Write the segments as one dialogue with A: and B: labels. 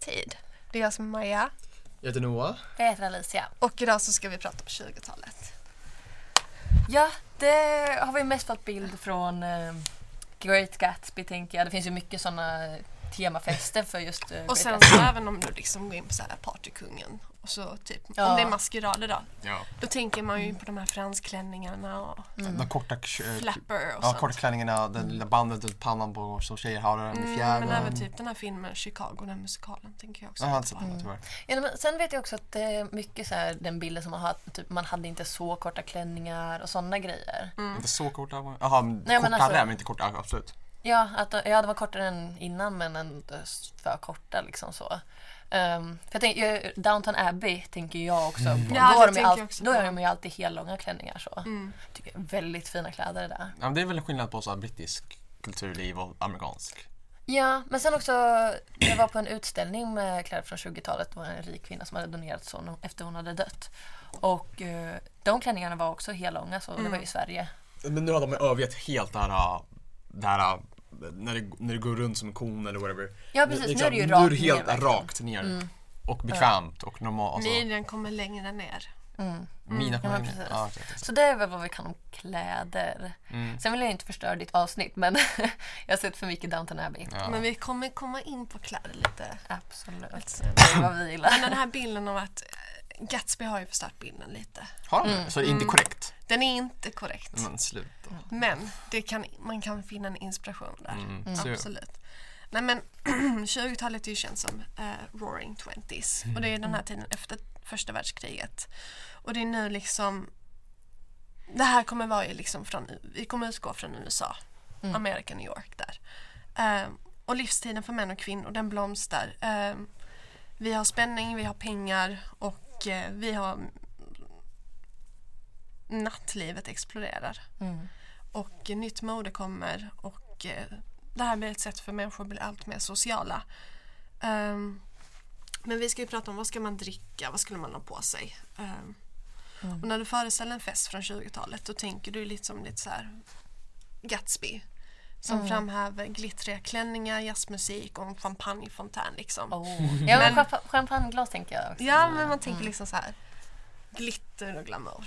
A: tid. Det är jag som är Maja
B: Jag heter Noah.
C: Jag heter Alicia.
A: och idag så ska vi prata om 20-talet.
C: Ja, det har vi mest fått bild från eh, Great Gatsby tänker jag. Det finns ju mycket sådana temafester för just eh,
A: Och
C: Great
A: sen
C: Gatsby.
A: så även om du liksom går in på så här partykungen och så typ om
C: Ja.
A: det är maskerader då.
D: Ja.
A: Då tänker man ju på de här fransklänningarna och
C: Mm.
D: De korta, k- eh,
A: flapper och
D: ja,
A: sånt.
D: kortklänningarna, den lilla bandet runt pannan på som tjejer har den
C: Mm,
D: med fjädern.
A: Men även typ den här filmen Chicago, den här musikalen tänker jag också
D: Jag har
A: på.
D: inte sett
C: Mm.
D: den tyvärr.
C: Ja, men sen vet jag också att det är mycket så här, den bilden som man har, typ, man hade inte så korta klänningar och sådana grejer.
D: Inte så korta. var- Jaha, men
C: Mm. Nej, men
D: kortare
C: alltså-
D: men inte korta, ja, absolut.
C: Ja, att, ja, det var kortare än innan men inte s- för korta liksom så. Ehm, för jag tänker, ju- Downton Abbey tänker jag också på.
A: Ja,
C: då
A: det
C: har de, ju
A: tänker jag
C: allt,
A: också
C: då
A: på. Mm.
C: har de ju alltid hellånga klänningar så. Tycker jag är väldigt fina kläder det där.
D: Ja, men det är väl en skillnad på så här, brittisk kulturliv och amerikansk.
C: Ja, men sen också, jag var på en utställning med kläder från 20-talet. Det var en rik kvinna som hade donerat så efter hon hade dött. Och eh, de klänningarna var också hellånga så det var ju i Sverige.
D: Men nu har de övergett helt det här, äh, det här äh, när det, när det går runt som en kon eller whatever. Liksom,
C: Ja, precis. Nu är det ju rakt
D: Nu är det helt
C: ner, verkligen. Mm.
D: rakt ner. Och bekvämt och normalt. Alltså,
A: Linjen kommer längre ner.
D: mina
C: mm. Ja,
D: kommer
C: men precis.
D: ja, okej, precis.
C: Så det är väl vad vi kan om kläder.
D: Mm.
C: Sen vill jag inte förstöra ditt avsnitt men jag har sett för mycket Downton Abbey.
D: Ja.
A: Men vi kommer komma in på kläder lite.
C: Absolut. Det är vad vi gillar.
A: Men den här bilden av att eh, Gatsby har ju förstört bilden lite.
D: Har de det?
C: Mm,
D: Så det är inte korrekt?
A: Den är inte korrekt.
D: Men sluta.
A: Men det kan, man kan finna en inspiration där.
C: Mm.
D: Mm. så-
A: Absolut. Nej men 20-talet är ju känt som eh, roaring twenties och det är den här tiden efter första världskriget. Och det är nu liksom det här kommer vara ju liksom från, vi kommer utgå från USA, Amerika, New York där. Ehm, och livstiden för män och kvinnor den blomstrar. Ehm, vi har spänning, vi har pengar och eh, vi har nattlivet exploderar. Och eh, nytt mode kommer och eh, det här blir ett sätt för människor att bli allt mer sociala. Ehm, men vi ska ju prata om vad ska man dricka, vad skulle man ha på sig? Ehm, Och när du föreställer en fest från 20-talet då tänker du lite som lite så här Gatsby. Som framhäver glittriga klänningar, jazzmusik och en champagnefontän liksom.
C: Oh. Ja, men champa- champagneglas tänker jag också.
A: Ja, men man tänker liksom så här glitter och glamour.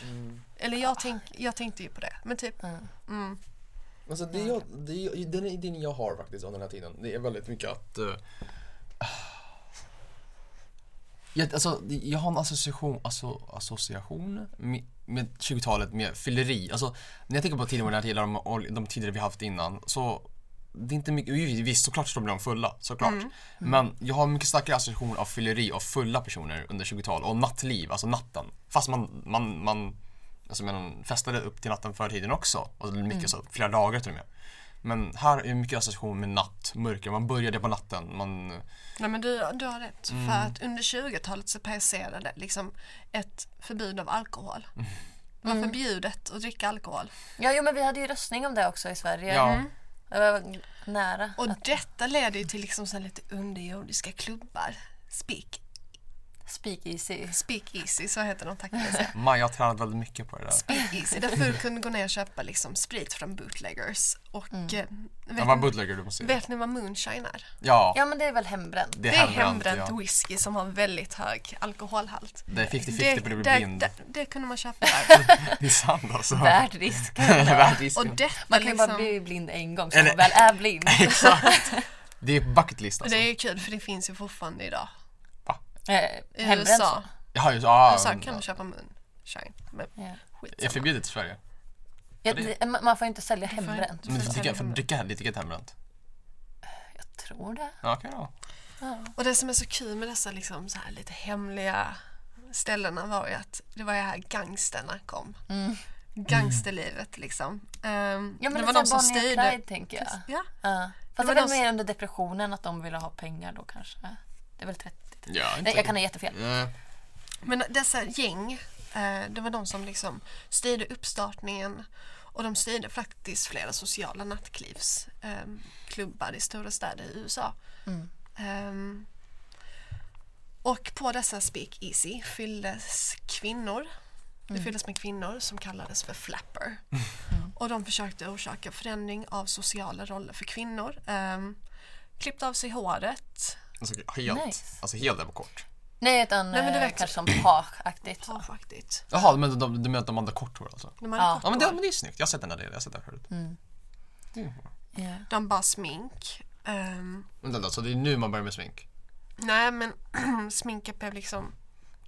A: Eller jag, tänk, jag tänkte ju på det. Men typ,
B: Alltså det jag, det jag, den idén jag har faktiskt om den här tiden, det är väldigt mycket att... eh,
D: Jag, alltså, det- jag har en association, alltså, association med, med 20-talet med fylleri. Alltså, när jag tänker på tiden moderna tider, de, ol- de tider vi haft innan, så det är inte mycket, ju, visst såklart så blir de fulla, såklart. Men jag har en mycket starkare association av fylleri av fulla personer under 20-talet och nattliv, alltså natten. Fast man, man, man, alltså, man festade upp till natten förr i tiden också, och mycket så, flera dagar till och med. Men här är mycket association med natt, mörker, man började på natten, man
A: nej men du, du har rätt. För att under 20-talet så passerade liksom ett förbud av alkohol. Det var förbjudet att dricka alkohol.
C: Ja, jo, men vi hade ju röstning om det också i Sverige.
D: Ja.
C: Det var nära.
A: Och detta leder ju till liksom så här lite underjordiska klubbar. Speak,
C: Speakeasy.
A: speak easy, så heter de tack vare
D: Maja har tränat väldigt mycket på det där.
A: Speak easy, där förr kunde gå ner och köpa liksom sprit från bootleggers. Och eh,
D: Ja,
A: vet,
D: vad
A: ni-
D: bootlegger du måste säga.
A: vet ni vad moonshine är?
D: Ja,
C: Ja, men det är väl hembränt.
D: det
A: Det
D: är
A: är
D: hembränt.
A: hembränt
D: Ja.
A: whisky som har väldigt hög alkoholhalt.
D: Det är 50-50
A: Det,
D: för du blir
A: det,
D: blind.
A: det, det kunde man köpa där.
D: Det är sant alltså.
C: Värt risken.
D: Värt
A: Och
D: risken.
A: det,
C: Man kan ju bara
A: liksom,
C: bli blind en gång så
D: Eller-
C: man väl är blind.
D: Exakt. Det är bucket list
A: det
D: alltså.
A: är ju kul för det finns ju fortfarande idag.
C: Eh,
A: I
C: hembränt.
A: USA,
D: Jaha, just, ah,
A: USA kan
D: ja.
A: man köpa moonshine. Men
C: Ja.
D: Det är
A: skitsamma.
D: förbjudet i Sverige.
C: Ja, det, man man får ju inte sälja hembränt.
D: Men du får
A: Sverige
D: dricka,
A: kan
D: får
A: man.
D: dricka, dricka ett hembränt.
C: Jag tror det.
D: Ja, okej då.
A: Och det som är så kul med dessa liksom, så här lite hemliga ställena var ju att det var ju här gangsterna kom. Gangsterlivet liksom. Ehm,
C: Mm. Ja, men
A: det
C: lite
A: var de som
C: Bonnie och
A: styrde.
C: Clyde, tänker jag.
A: Ja.
C: Ja. Fast
A: var
C: det var
A: de
C: mer under depressionen att de ville ha pengar då kanske. Det är väl 30
D: Ja, inte.
C: Nej, jag kan ha jättefel.
D: Eh,
A: Men dessa gäng, eh, det var de som liksom styrde uppstartningen och de styrde faktiskt flera sociala nattklubbsklubbar eh, klubbar i stora städer i USA. Ehm, och på dessa speak easy fylldes kvinnor. Det fylldes med kvinnor som kallades för flapper. Och de försökte orsaka förändring av sociala roller för kvinnor. Ehm, klippte av sig håret,
D: Alltså helt,
C: Nice.
D: alltså helt över kort.
C: Nej, utan
A: Nej, men du
C: eh,
A: vet-
C: kanske som page-aktigt. så.
A: Pageaktigt.
D: Jaha, men de, de, du menar att de andra korthår alltså?
A: De, hade
C: Ja.
A: kort
D: Ja men det,
A: hår.
D: men det är snyggt, jag har sett den här delen, jag har sett den förut. Det är-
C: Ja.
A: de bara smink. Ehm,
D: Vänta, alltså det är nu man börjar med smink?
A: nej men sminket blev liksom,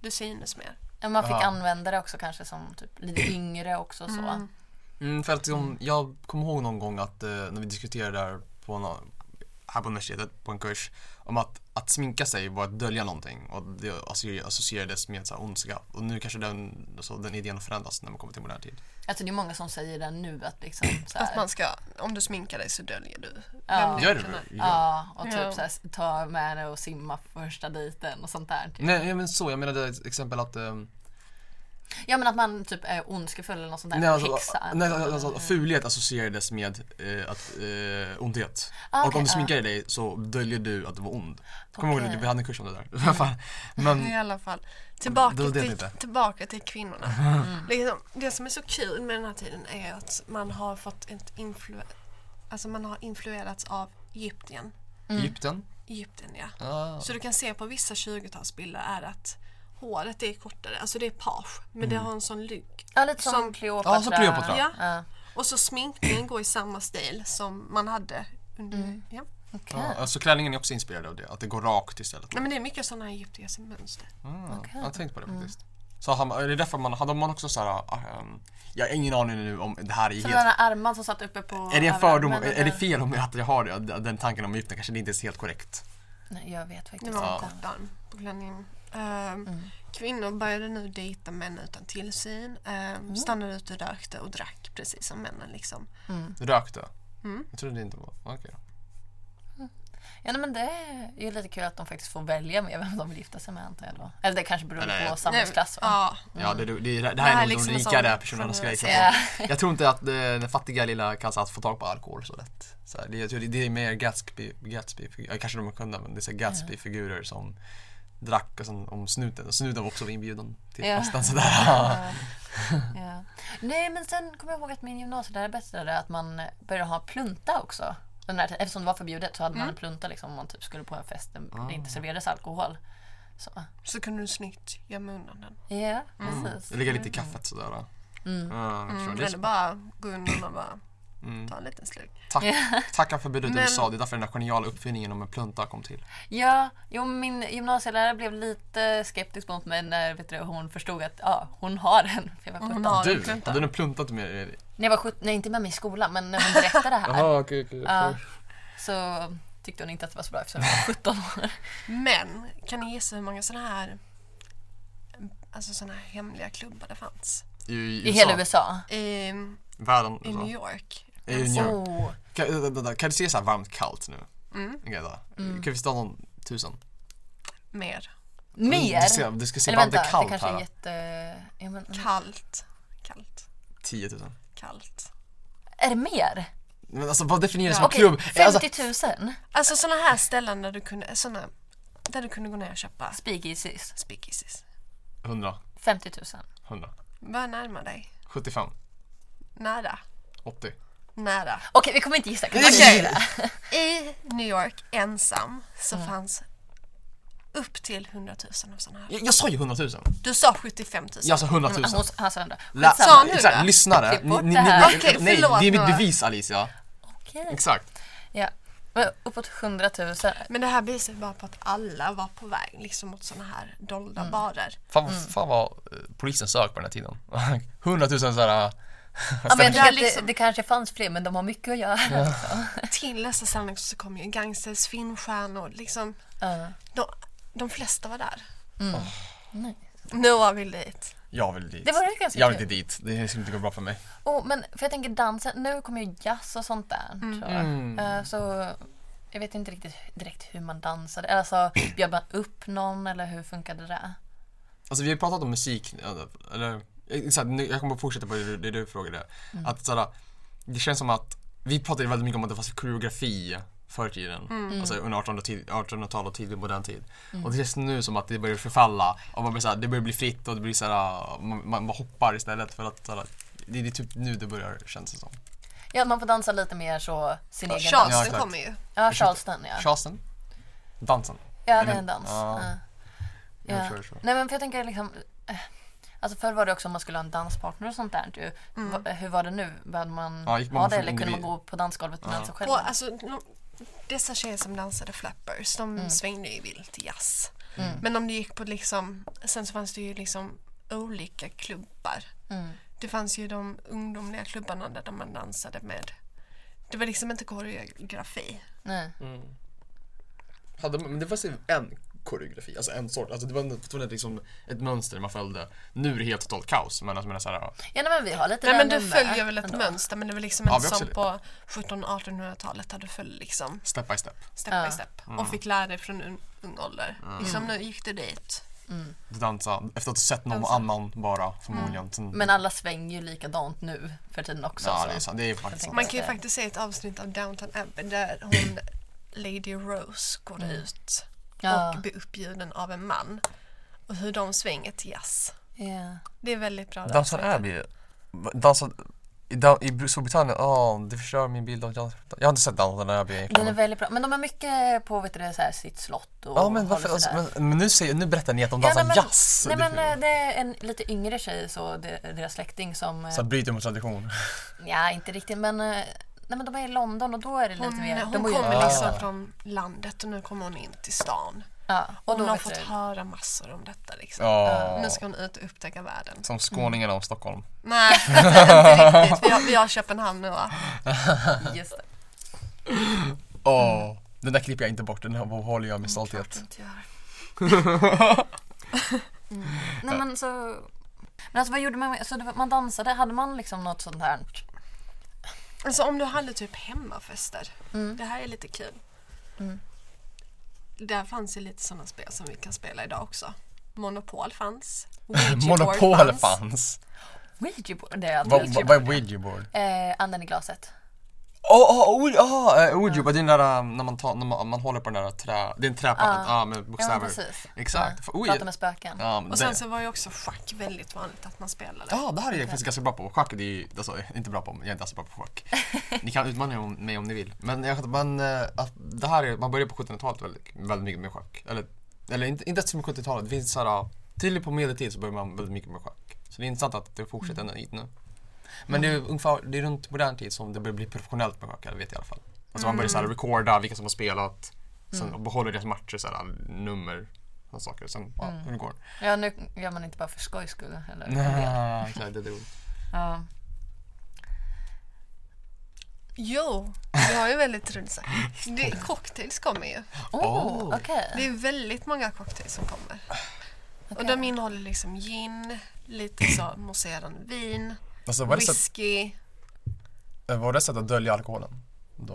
A: du synes mer.
C: Ja, Man fick
D: Aha.
C: använda det också kanske som typ lite yngre också så.
D: Mm, för att liksom, jag kommer ihåg någon gång att eh, när vi diskuterade det här på en, här på universitetet på en kurs om att, att sminka sig var att dölja någonting och det associ- associerades med så här ondska och nu kanske den, alltså, den idén har förändrats när man kommer till modern tid.
C: Alltså det är många som säger det nu att liksom så här,
A: Att man ska, om du sminkar dig så döljer du.
C: Ja.
A: vem du
D: Gör det?
A: egentligen är.
C: Ja, och typ
A: Ja.
C: så här, ta med det och simma på första dejten och sånt där. Typ.
D: Nej, jag menar så, jag menade ett exempel att... Eh,
C: Ja men att man typ är ondskefull eller något sånt där.
D: nej, alltså,
C: Häxa. Mm.
D: nej, alltså, fulhet associerades med eh, att, eh, ondhet.
C: Ah,
D: och
C: okej,
D: om du
C: ja.
D: sminkade dig så döljer du att du var ond. Kommer ihåg
C: Okej.
D: det, vi hade en kurs om det där. Fan. Men,
A: I alla fall. Tillbaka,
D: Mm. Det var det
A: till,
D: lite.
A: tillbaka till kvinnorna. Liksom, det som är så kul med den här tiden är att man har fått ett influ- alltså man har influerats av Egypten.
C: Mm.
D: Egypten?
A: Egypten ja.
D: Ah.
A: Så du kan se på vissa 20-talsbilder är att håret är kortare, alltså det är page, men
D: Mm.
A: det har en sån lugg.
C: Ja lite som,
A: som-
C: Cleopatra.
D: Ja, som Cleopatra.
A: Ja.
C: Ja,
A: Och så sminkningen går i samma stil som man hade under... Ja.
C: okej.
D: Ja, alltså klänningen är också inspirerad av det, att det går rakt istället.
A: Nej, men det är mycket sådana egyptiska mönster.
D: Mm.
C: Okej.
D: Jag har tänkt på det faktiskt. Så har man, är det därför man, hade man också så här, ah, ehm, jag har ingen aning nu om det här är
C: Som
D: helt...
C: den här armen som satt uppe på
D: Är det en fördom, är,
C: överarmen,
D: är det
C: eller?
D: fel om jag, att jag har det, att den tanken om Egypten kanske det inte är helt korrekt?
C: Nej, jag vet faktiskt
A: Det var
D: Ja.
A: en kort arm på klänningen. Ehm, Kvinnor började nu dejta män utan tillsyn, um, stannade ute och rökte och drack precis som männen. Liksom.
D: Rök det?
A: Mm.
D: Jag trodde det inte var, okej då.
C: Ja, nej, men det är ju lite kul att de faktiskt får välja med vem de vill gifta sig med antar jag då. Eller det kanske beror
D: Nej,
C: på
D: nej.
C: samhällsklass va?
A: Ja,
D: Ja, det, det, det, det
A: Det här
D: här
A: är
D: är nog
A: liksom
D: de
A: en
D: rikare
A: sån
D: personernas grej.
A: generös-
D: så-
C: Ja.
D: Jag tror inte att eh, den fattiga lilla Kansa får tag på alkohol så lätt. Så här, det, jag tror det, det är mer Gatsby, Gatsby ja, kanske de kunde, men det är så här Gatsby-figurer som drack och sen om snuten. Och snuten var också inbjuden till
C: Ja.
D: festen sådär.
C: Ja. Nej, men sen kommer jag ihåg att min gymnasielärare berättade att man började ha plunta också. Den här, tiden. eftersom det var förbjudet så hade
A: Mm.
C: man en plunta liksom, om man typ skulle på en fest där det
D: Ah.
C: inte serverades alkohol. Så.
A: så kunde du snyggt gömma undan den.
C: Ja, precis.
D: Ligga Mm. lite i kaffet sådär. Mm. Ja, jag förstår.
A: Mm,
D: det är
A: eller
D: så,
A: bara gå undan och bara
D: Mm.
A: ta en liten slurk.
D: tack, tacka förbudet i
A: Men-
D: USA, det är därför den här geniala uppfinningen om en plunta kom till.
C: Ja, jo, min gymnasielärare blev lite skeptisk mot mig när vet du, hon förstod att ja, hon har en. För jag var
A: Hon
C: 17.
A: har- Ja,
D: Du,
A: en plunta.
D: hade du en plunta till mig?
C: När jag var 17, nej inte med mig i skolan, men när hon berättade det här
D: okej, okej.
C: Ja. så tyckte hon inte att det var så bra eftersom jag var 17 år.
A: Men kan ni gissa hur många sådana här Alltså sådana här hemliga klubbar det fanns. Ehm,
D: I, i,
C: I hela USA.
A: I,
D: Världen.
A: i
D: USA.
A: New York.
D: I New York.
C: Oh.
D: Kan, vänta, vänta, kan du se så här varmt kallt nu?
A: Mm.
D: Okej då. Kan vi ställa någon tusen?
A: Mer
C: Mer?
D: Du ska, du ska se
C: Eller
D: varmt
C: vänta,
D: och kallt
C: det kanske är
D: här.
C: jätte... Ja, men,
A: kallt. Kallt.
D: 10 000.
A: Kallt.
C: är det mer?
D: Men alltså vad definieras som en
C: Okej,
D: klubb? Alltså,
C: 50 000
A: Alltså sådana här ställen där du kunde, såna, där du kunde gå ner och köpa
C: speakeasies.
A: speakeasies.
D: 100,
C: 50 000.
D: 100,
A: Börja närma dig.
D: 75,
A: Nära.
D: 80.
A: Nära.
C: Okej, vi kommer inte gissa. Kan man
A: Okej.
C: gissa?
A: I New York ensam så fanns upp till 100 000 av sådana här.
D: Jag, jag sa ju 100 000.
A: Du sa 75 000.
D: Jag sa 100 000.
C: Men alltså, hon- Han sa 100.
D: La,
A: Sa han nu
D: exakt,
A: då?
D: lyssnare.
C: Klipp bort
D: Ni- ni-
C: det här.
D: ni-
A: Okej,
D: nej,
A: förlåt,
D: det är
A: Noah.
D: mitt bevis Alicia.
C: Okej.
D: Exakt.
C: Ja. Men Uppåt 100 000.
A: Men det här visar ju bara på att alla var på väg liksom mot sådana här dolda barer.
D: Fan,
C: Mm.
D: fan vad eh, polisen sök på den här tiden. 100 000 såhär...
C: Ja, men jag tycker att det,
A: liksom-
C: det kanske fanns fler, men de har mycket att göra.
A: Till nästa sändning så kom ju gangsters, filmstjärnor, liksom.
C: Ja.
A: De, de flesta var där.
C: Nej.
A: Noah vill dit.
D: Jag vill dit.
C: Det vore ganska
D: jag vill
C: kul.
D: inte dit. Det skulle inte gå bra för mig.
C: Oh, men för jag tänker dansen, nu kommer ju jazz och sånt där. tror jag.
D: Mm.
C: Eh, så jag vet inte riktigt direkt hur man dansade. Eller Alltså, bjöd man upp någon eller hur funkade det?
D: Alltså vi har ju pratat om musik, eller exakt, nu- jag kommer att fortsätta på det, det du frågade. Att sådär, det känns som att vi pratade väldigt mycket om att det fanns koreografi förr i tiden. Alltså under 1800-talet 1800 och tidig modern tid. Och det känns nu som att det börjar förfalla. Och man blir såhär, det börjar bli fritt och det blir såhär, man, man bara hoppar istället för att såhär, det, det är typ nu det börjar känns det som.
C: Ja, man får dansa lite mer så sin egen dans.
A: Charleston
D: exakt.
A: kommer ju.
C: Ja, Charleston ja.
D: Charleston? Dansen?
C: Ja, det
D: Eller-
C: är en dans.
D: Ja.
C: Ja.
D: Jag
C: Ja.
D: förstår, så.
C: Nej, men för jag tänker liksom... eh, Alltså förr var det också om man skulle ha en danspartner och sånt där. ju.
A: Mm.
C: Va- Hur var det nu? Behövde man
D: Ja, gick man
C: ha
D: som
C: det eller kunde man
D: individ?
C: gå på dansgolvet och dansa själv?
A: Och, alltså, de, dessa tjejer som dansade flappers, de svängde ju vilt till jazz. Men om du gick på liksom, sen så fanns det ju liksom olika klubbar.
C: Mm.
A: Det fanns ju de ungdomliga klubbarna där man dansade med det var liksom inte koreografi.
C: Nej.
D: Hade, men det fanns ju en koreografi, alltså en sort. Alltså det var, det var liksom ett mönster man följde. Nu är det helt totalt kaos, men alltså, men så här, ja.
C: Ja, nej, men vi har lite
A: Nej
C: där
A: men
C: nu
A: du
C: med
A: följer väl ett
C: ändå.
A: mönster men det var liksom
D: Ja,
A: inte
D: men
A: som
D: absolut.
A: på 1700-1800-talet där du följde liksom
D: step by step.
A: step
C: Ja.
A: by step och
D: Mm.
A: fick lära dig från un- ung ålder. Liksom nu gick du dit.
C: Mm.
D: Dansa, efter att ha sett någon
A: Dansa.
D: annan bara förmodligen. Sen,
C: Men alla svänger ju likadant nu för tiden också.
D: ja,
C: så.
D: det är sant. Det är faktiskt sant.
A: Man kan ju faktiskt se ett avsnitt av Downton Abbey där hon Lady Rose går ut
C: Mm. Ja.
A: och blir uppbjuden av en man. Och hur de svänger till jazz.
C: Ja.
A: Det är väldigt bra.
D: Dansar
A: avsnitt.
D: Abbey? Dansar... I, Dan- i Storbritannien? Ja, det förstör min bild av dans. Jag har inte sett Downton Abbey.
C: Den är väldigt bra. Men de är mycket på vet du, det, så här, sitt slott och
D: Ja, men,
C: håller
D: varför, alltså,
C: sig där.
D: men, men nu, säger, nu berättar ni att de
C: Ja,
D: dansar
C: nej, men-
D: jazz.
C: Nej men eh, det är en lite yngre tjej, så det, deras släkting som... eh,
D: Så här, bryter mot tradition.
C: Ja, inte riktigt men... eh, Nej men de är i London och då är det lite
A: Hon,
C: mer...
A: hon
C: de bor ju-
A: kommer
D: Ja.
A: liksom från landet och nu kommer hon in till stan.
C: Ja, och då
A: Hon har
C: vet
A: fått
C: du-
A: höra massor om detta liksom.
D: Ja.
A: Nu ska hon ut och upptäcka världen.
D: Som skåningarna om Stockholm.
A: Nej, inte riktigt. Vi har, vi har Köpenhamn nu va?
C: Just det.
D: Åh,
C: Mm.
D: den där klipper jag inte bort. Den här håller jag med stolthet.
A: Inte göra.
C: Nej men så... Men alltså vad gjorde man? Så det, var- man dansade, hade man liksom något sånt här...
A: Alltså om du hade typ hemmafester. Det här är lite kul. Mm. Där fanns ju lite sådana spel som vi kan spela idag också. Monopol fanns. Ouija board
D: Monopol fanns.
C: Ouija board? Det är alltid
D: Vad
C: Ouija
D: vad är
C: board.
D: Ouija board?
C: Eh, anden i glaset.
D: Åh, åh, oh, oh, Ouija board, det är den där eh, när man, tar, när man, man håller på den där trä... Det är en träpanna
C: Ja.
D: ja med
C: Ja men
D: bokstäver.
C: precis.
D: Exakt. För
C: Ja,
D: Ouija-
C: prata med spöken.
D: Ja, men
A: Och sen
D: det-
A: så var ju också schack väldigt vanligt att man spelade.
D: Ja, det här är jag faktiskt ganska bra på. Schack, det är ju, alltså, jag är inte bra på, jag är inte alls bra på schack. Ni kan utmana mig om- mig om ni vill. Men jag, man, att det här är, man börjar på 1700-talet väldigt, väldigt mycket med schack. Eller, eller inte, inte ens med 1700-talet, det finns såhär, tydligt på medeltid så börjar man väldigt mycket med schack. Så det är intressant att det fortsätter ända hit nu. Men det är ungefär, det är runt modern tid som det börjar bli professionellt med schack, jag vet i alla fall. Alltså man börjar såhär recorda vilka som har spelat, sen behåller deras matcher, såhär, nummer och saker. Sen, ja, hur det går.
C: Ja, nu gör man inte bara för skojs skull. Eller,
D: Nej, exakt, det är roligt.
C: ja.
A: Jo, vi har ju väldigt roligt så här. Det- Cocktails kommer ju.
C: Oh,
D: Oh.
C: okej.
A: Det är väldigt många cocktails som kommer. Och de innehåller liksom gin, lite så mousserande vin,
D: Alltså, vad är det så-
A: whisky.
D: Eh, Var det ett sätt att dölja alkoholen? Då?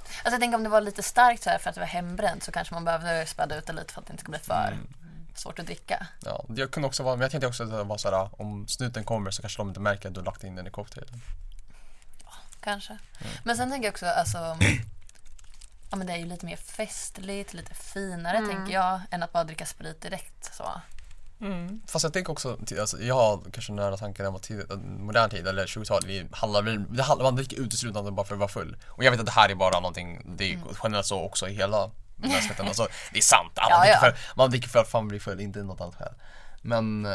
C: Alltså jag tänker om det var lite starkt så här för att det var hembränt så kanske man behövde späda ut det lite för att det inte skulle bli för
D: Mm.
C: svårt att dricka.
D: Ja, det kunde också vara, men jag tänkte också att det var såhär, om snuten kommer så kanske de inte märker att du har lagt in den i cocktailen.
C: Kanske.
D: Mm.
C: Men sen tänker jag också alltså Ja men det är ju lite mer festligt, lite finare
A: Mm.
C: tänker jag än att bara dricka sprit direkt så.
D: Fast jag tänker också, till- alltså, jag har kanske nära tanken om att tid, att eh, modern tid eller 20-tal, vi handlar, vi, det handlar, man dricker uteslutande bara för att vara full. Och jag vet att det här är bara någonting, det
C: Mm.
D: är generellt så också i hela mänskligheten. Alltså, det är sant, alla
C: Ja,
D: dricker
C: ja.
D: För, man dricker för att fan bli full, inte något annat skäl. Men eh,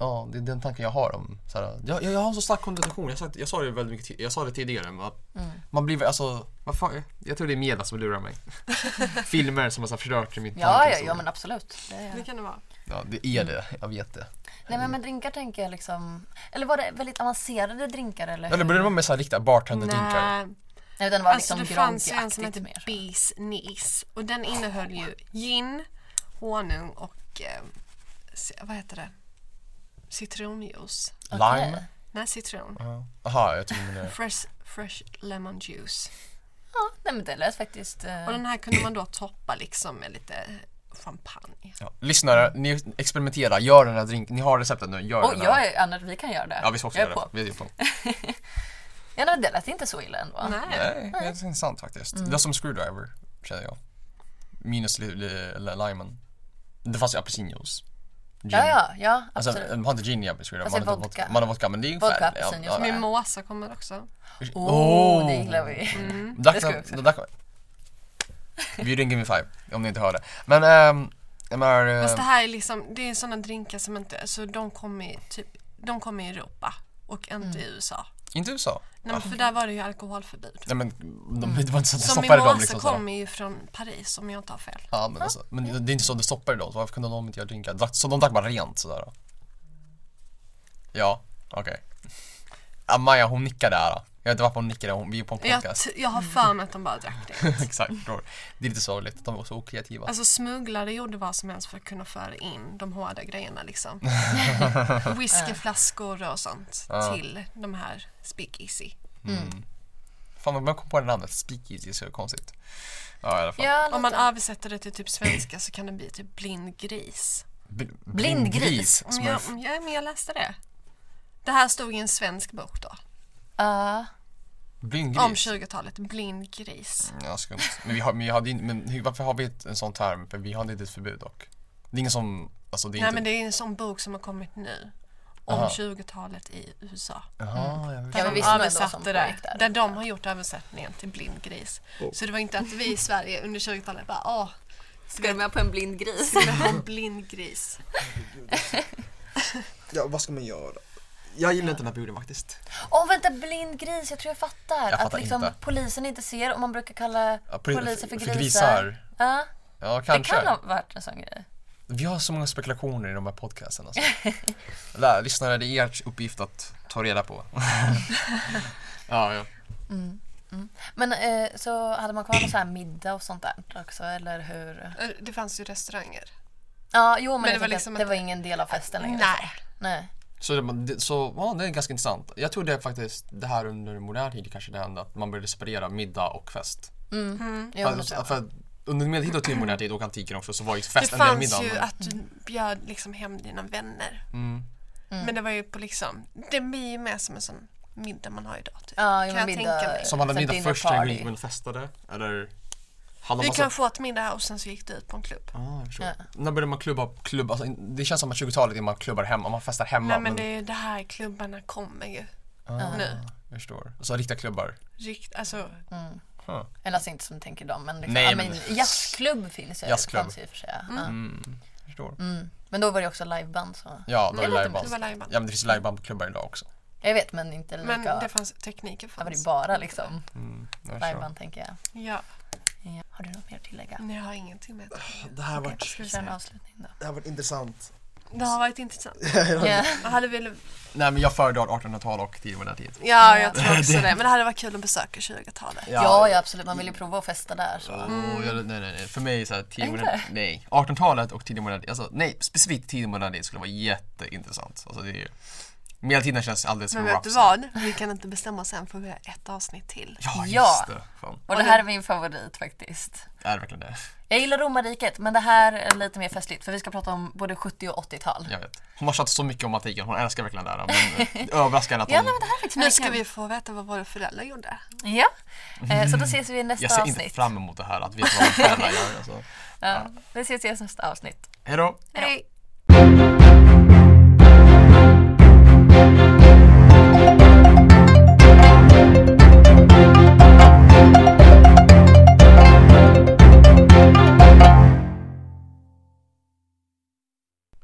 D: Ja, det är den tanken jag har om så här, jag, jag, jag har en så stark koncentration, jag, sa- jag sa det väldigt mycket ti- jag sa det tidigare men att
C: Mm.
D: man blir alltså, vad fan, jag tror det är media som lurar mig. Filmer som har så här förstört min
C: Ja, ja,
D: tankehistoria.
C: ja men absolut. Det är...
A: Det kan det vara.
D: ja, det är det, jag vet det.
C: Nej men med drinkar tänker jag liksom Eller var det väldigt avancerade drinkar eller? hur?
D: Eller började man med så här riktiga bartenderdrinkar?
C: Nej, den var
A: Alltså
C: liksom
A: det fanns ju en som
C: groggy-aktigt
A: hette
C: mer.
A: Bees Knees och den innehöll ju gin, honung och eh, c- vad heter det? Citronjuice.
C: Okej.
D: Lime?
A: Nej, citron.
D: Ja. Aha, jag tror det.
A: Fresh, fresh lemon juice.
C: Ja, nej men det lät faktiskt... eh,
A: Och den här kunde man då toppa liksom med lite champagne.
D: Ja. Lyssnare, ni experimenterar, gör den här drinken, ni har receptet nu, gör
C: Oj,
D: den
C: jag
D: här.
C: är, Anna, vi kan göra det.
D: Ja, vi ska också
C: jag är
D: göra det.
C: på.
D: Vi är på.
C: Ja, nej, men det lät inte så illa ändå.
A: Nej.
D: Nej, det är ganska intressant faktiskt.
C: Mm.
D: Det var som screwdriver, känner jag. Minus li- li- li- limen. Det fanns ju apelsinjuice. Gin.
C: Ja, ja, ja
D: Alltså,
C: absolut.
D: man har inte gin i apelsinjuice,
C: Alltså,
D: man har inte
C: vodka.
D: vodka. Man har vodka, men det är
C: Vodka,
D: ungefär...
C: apelsinjuice.
D: ja, Mm. Oh!
A: Min måsa kommer också.
D: ja.
C: Åh, det gillar vi.
A: Mm.
D: Drack
C: Det ska
D: man-
C: vi också.
D: drack man- Bjud in Gimme Five, om ni inte hörde. Men, ehm, jag menar... eh,
A: Fast det här är liksom, det är sådana drinkar som inte, så de kom i, typ, de kom i Europa och
C: Mm.
A: inte i USA.
D: Inte USA?
A: Nej, men för där var det ju alkoholförbud.
D: Nej men, de, det var inte så att det
A: Som
D: stoppade dem
A: mimosa
D: liksom. så.
A: kommer ju från Paris om jag inte har fel.
D: Ja, men, alltså, men det det är inte så att det stoppade dem, så varför kunde de inte göra drinkar? Drack- Så de drack bara rent sådär? då? Ja, okej. Ja, Maja hon nickade här. då. Jag vet inte varför hon nickade, hon, vi är på en
A: Jag,
D: podcast.
A: t- jag har
D: Mm.
A: för mig att de bara drack det.
D: Exakt, då. det är lite sorgligt, de var så okreativa.
A: Alltså smugglare gjorde vad som helst för att kunna föra in de hårda grejerna liksom. Whiskyflaskor och sånt
D: Ja.
A: till de här speakeasy.
D: Mm. Fan, man kom på det namnet, speakeasy, så konstigt. Ja, i alla fall.
C: Ja,
A: Om man
C: lite.
A: översätter det till typ svenska så kan det bli typ blind gris.
D: Bl-
C: Blindgris.
A: Om jag, om jag, men jag läste det. Det här stod i en svensk bok då.
C: Ja.
D: Blindgris.
A: Om 20-talet. Blind gris.
D: Mm, Ja, skumt. Men, vi har, men, jag hade in, men hur- varför har vi ett, en sån term? För vi hade inte ett förbud dock. Det är ingen som, alltså det är
A: Nej
D: inte...
A: men det är en sån bok som har kommit nu. Om
D: Aha.
A: 20-talet i USA.
D: Jaha, jag vet.
C: Ja,
A: Där de
C: men visst var det ändå som
A: översatte det.
C: pågick där.
A: Där de har gjort översättningen till blind gris.
D: Oh.
A: Så det var inte att vi i Sverige under 20-talet bara "Ah, åh,
E: Ska du med på en blind gris?
A: skulle ha en blind gris.
B: Ja, vad ska man göra? Jag gillar inte den här perioden faktiskt.
C: Åh vänta, blind gris, jag tror jag
D: Jag
C: fattar.
D: fattar
C: att liksom
D: inte.
C: polisen inte ser och man brukar kalla
D: Ja, poli-
C: poliser för
D: för
C: grisar.
D: grisar.
C: Ja,
D: Ja,
C: det
D: kanske.
C: kan ha varit en sån grej.
D: Vi har så många spekulationer i de här podcasten. Alltså. Lä, lyssnare, det är ert uppgift att ta reda på. ja, ja.
C: Men eh, så hade man kvar någon sån här middag och sånt där också, eller hur?
A: Eh, Det fanns ju restauranger.
C: Ja, jo men,
A: Men
C: jag
A: det var
C: tänker
A: liksom
C: att det
A: inte-
C: var ingen del av festen längre.
A: Nej.
C: Nej.
D: Så, det, man- det- så ja, det är ganska intressant. Jag tror det är faktiskt det här under modern tid kanske det hände att man började separera middag och fest.
A: Mm.
C: Jo, men
D: för,
C: det tror jag.
D: att, för att under medeltiden och till modern tid och antiken också så var ju
A: Det
D: fest en del middag.
A: fanns ju
D: men-
A: att du bjöd liksom hem dina vänner.
D: Mm.
A: Men det var ju på liksom, det blir ju mer som en sån middag man har idag. Typ.
C: Ja, jo,
A: Kan jag
C: middag.
A: tänka mig.
D: Som hade
C: Sen
D: middag
C: dinner
D: först, sen
C: party.
D: gick man och festade? Eller? Hade
A: Vi
D: man så-
A: kanske åt middag här och sen så gick du ut på en klubb.
D: Ah, jag förstår.
C: Ja.
D: När började man klubba? klubba alltså, det känns som att 20-talet är man klubbar hemma, man festar hemma.
A: Nej men det är ju det här klubbarna kommer ju
D: ah,
A: nu.
D: Jag förstår. Alltså riktiga klubbar.
A: Rikt, alltså,
C: Eller alltså inte som tänker dem, men liksom,
D: Nej,
C: Nej,
D: men-
C: men jazzklubb finns ju.
D: Jazzklubb.
C: Fanns ju i och för sig. ja.
A: Mm.
D: Mm.
C: Mm.
D: Jag förstår.
C: Men då var det också liveband så.
D: Ja, då är
A: jag vet
D: det
A: inte, det
D: liveband.
A: var lajban.
D: Ja men det finns liveband på klubbar idag också.
C: Jag vet men inte lika.
A: Men det
C: det
A: fanns, tekniken
C: var det
A: fanns.
C: bara liksom
B: Mm.
D: Jag förstår.
C: liveband tänker jag.
A: Ja,
C: Ja. Har du något mer att tillägga?
A: men jag har ingenting med det.
B: Det här har
C: Okej,
B: varit,
C: Ska vi köra en avslutning då?
B: det här har varit intressant.
A: Det har varit intressant.
C: Ja.
A: Jag hade velat,
D: Nej men jag föredrar 1800-tal och tidig modern tid.
A: ja, jag tror också det. Men det hade varit kul att besöka 20-talet.
C: Ja, ja absolut. Man vill ju prova att festa där. Så.
D: Åh, jag, nej, nej, nej. För mig är så här, tidig
C: Mm. Inte?
D: modern, nej. 1800-talet och tidig modern tid, alltså nej, specifikt tidig modern tid skulle vara jätteintressant. Alltså det är ju, medeltiden känns alldeles
A: Men
D: rough.
A: vet du vad? Vi kan inte bestämma oss än för vi har ett avsnitt till.
D: Ja, just
C: Ja.
D: det. Fan.
C: Och det här är min favorit faktiskt.
D: Det är verkligen det.
C: Jag gillar romarriket men det här är lite mer festligt för vi ska prata om både 70 och 80-tal.
D: Jag vet. Hon har tjatat så mycket om antiken, hon älskar verkligen det här. Men det överraskar henne att
C: Ja,
D: hon...
C: nej, men det här är faktiskt
A: Nu ska vi
C: verkligen-
A: få veta vad våra föräldrar gjorde.
C: Ja, Eh, så då ses vi i nästa
D: Jag ser inte
C: avsnitt.
D: fram emot det här, att veta vad hon själv gör. Alltså.
C: Ja, vi ses i nästa avsnitt.
D: Hej då!
A: Hej!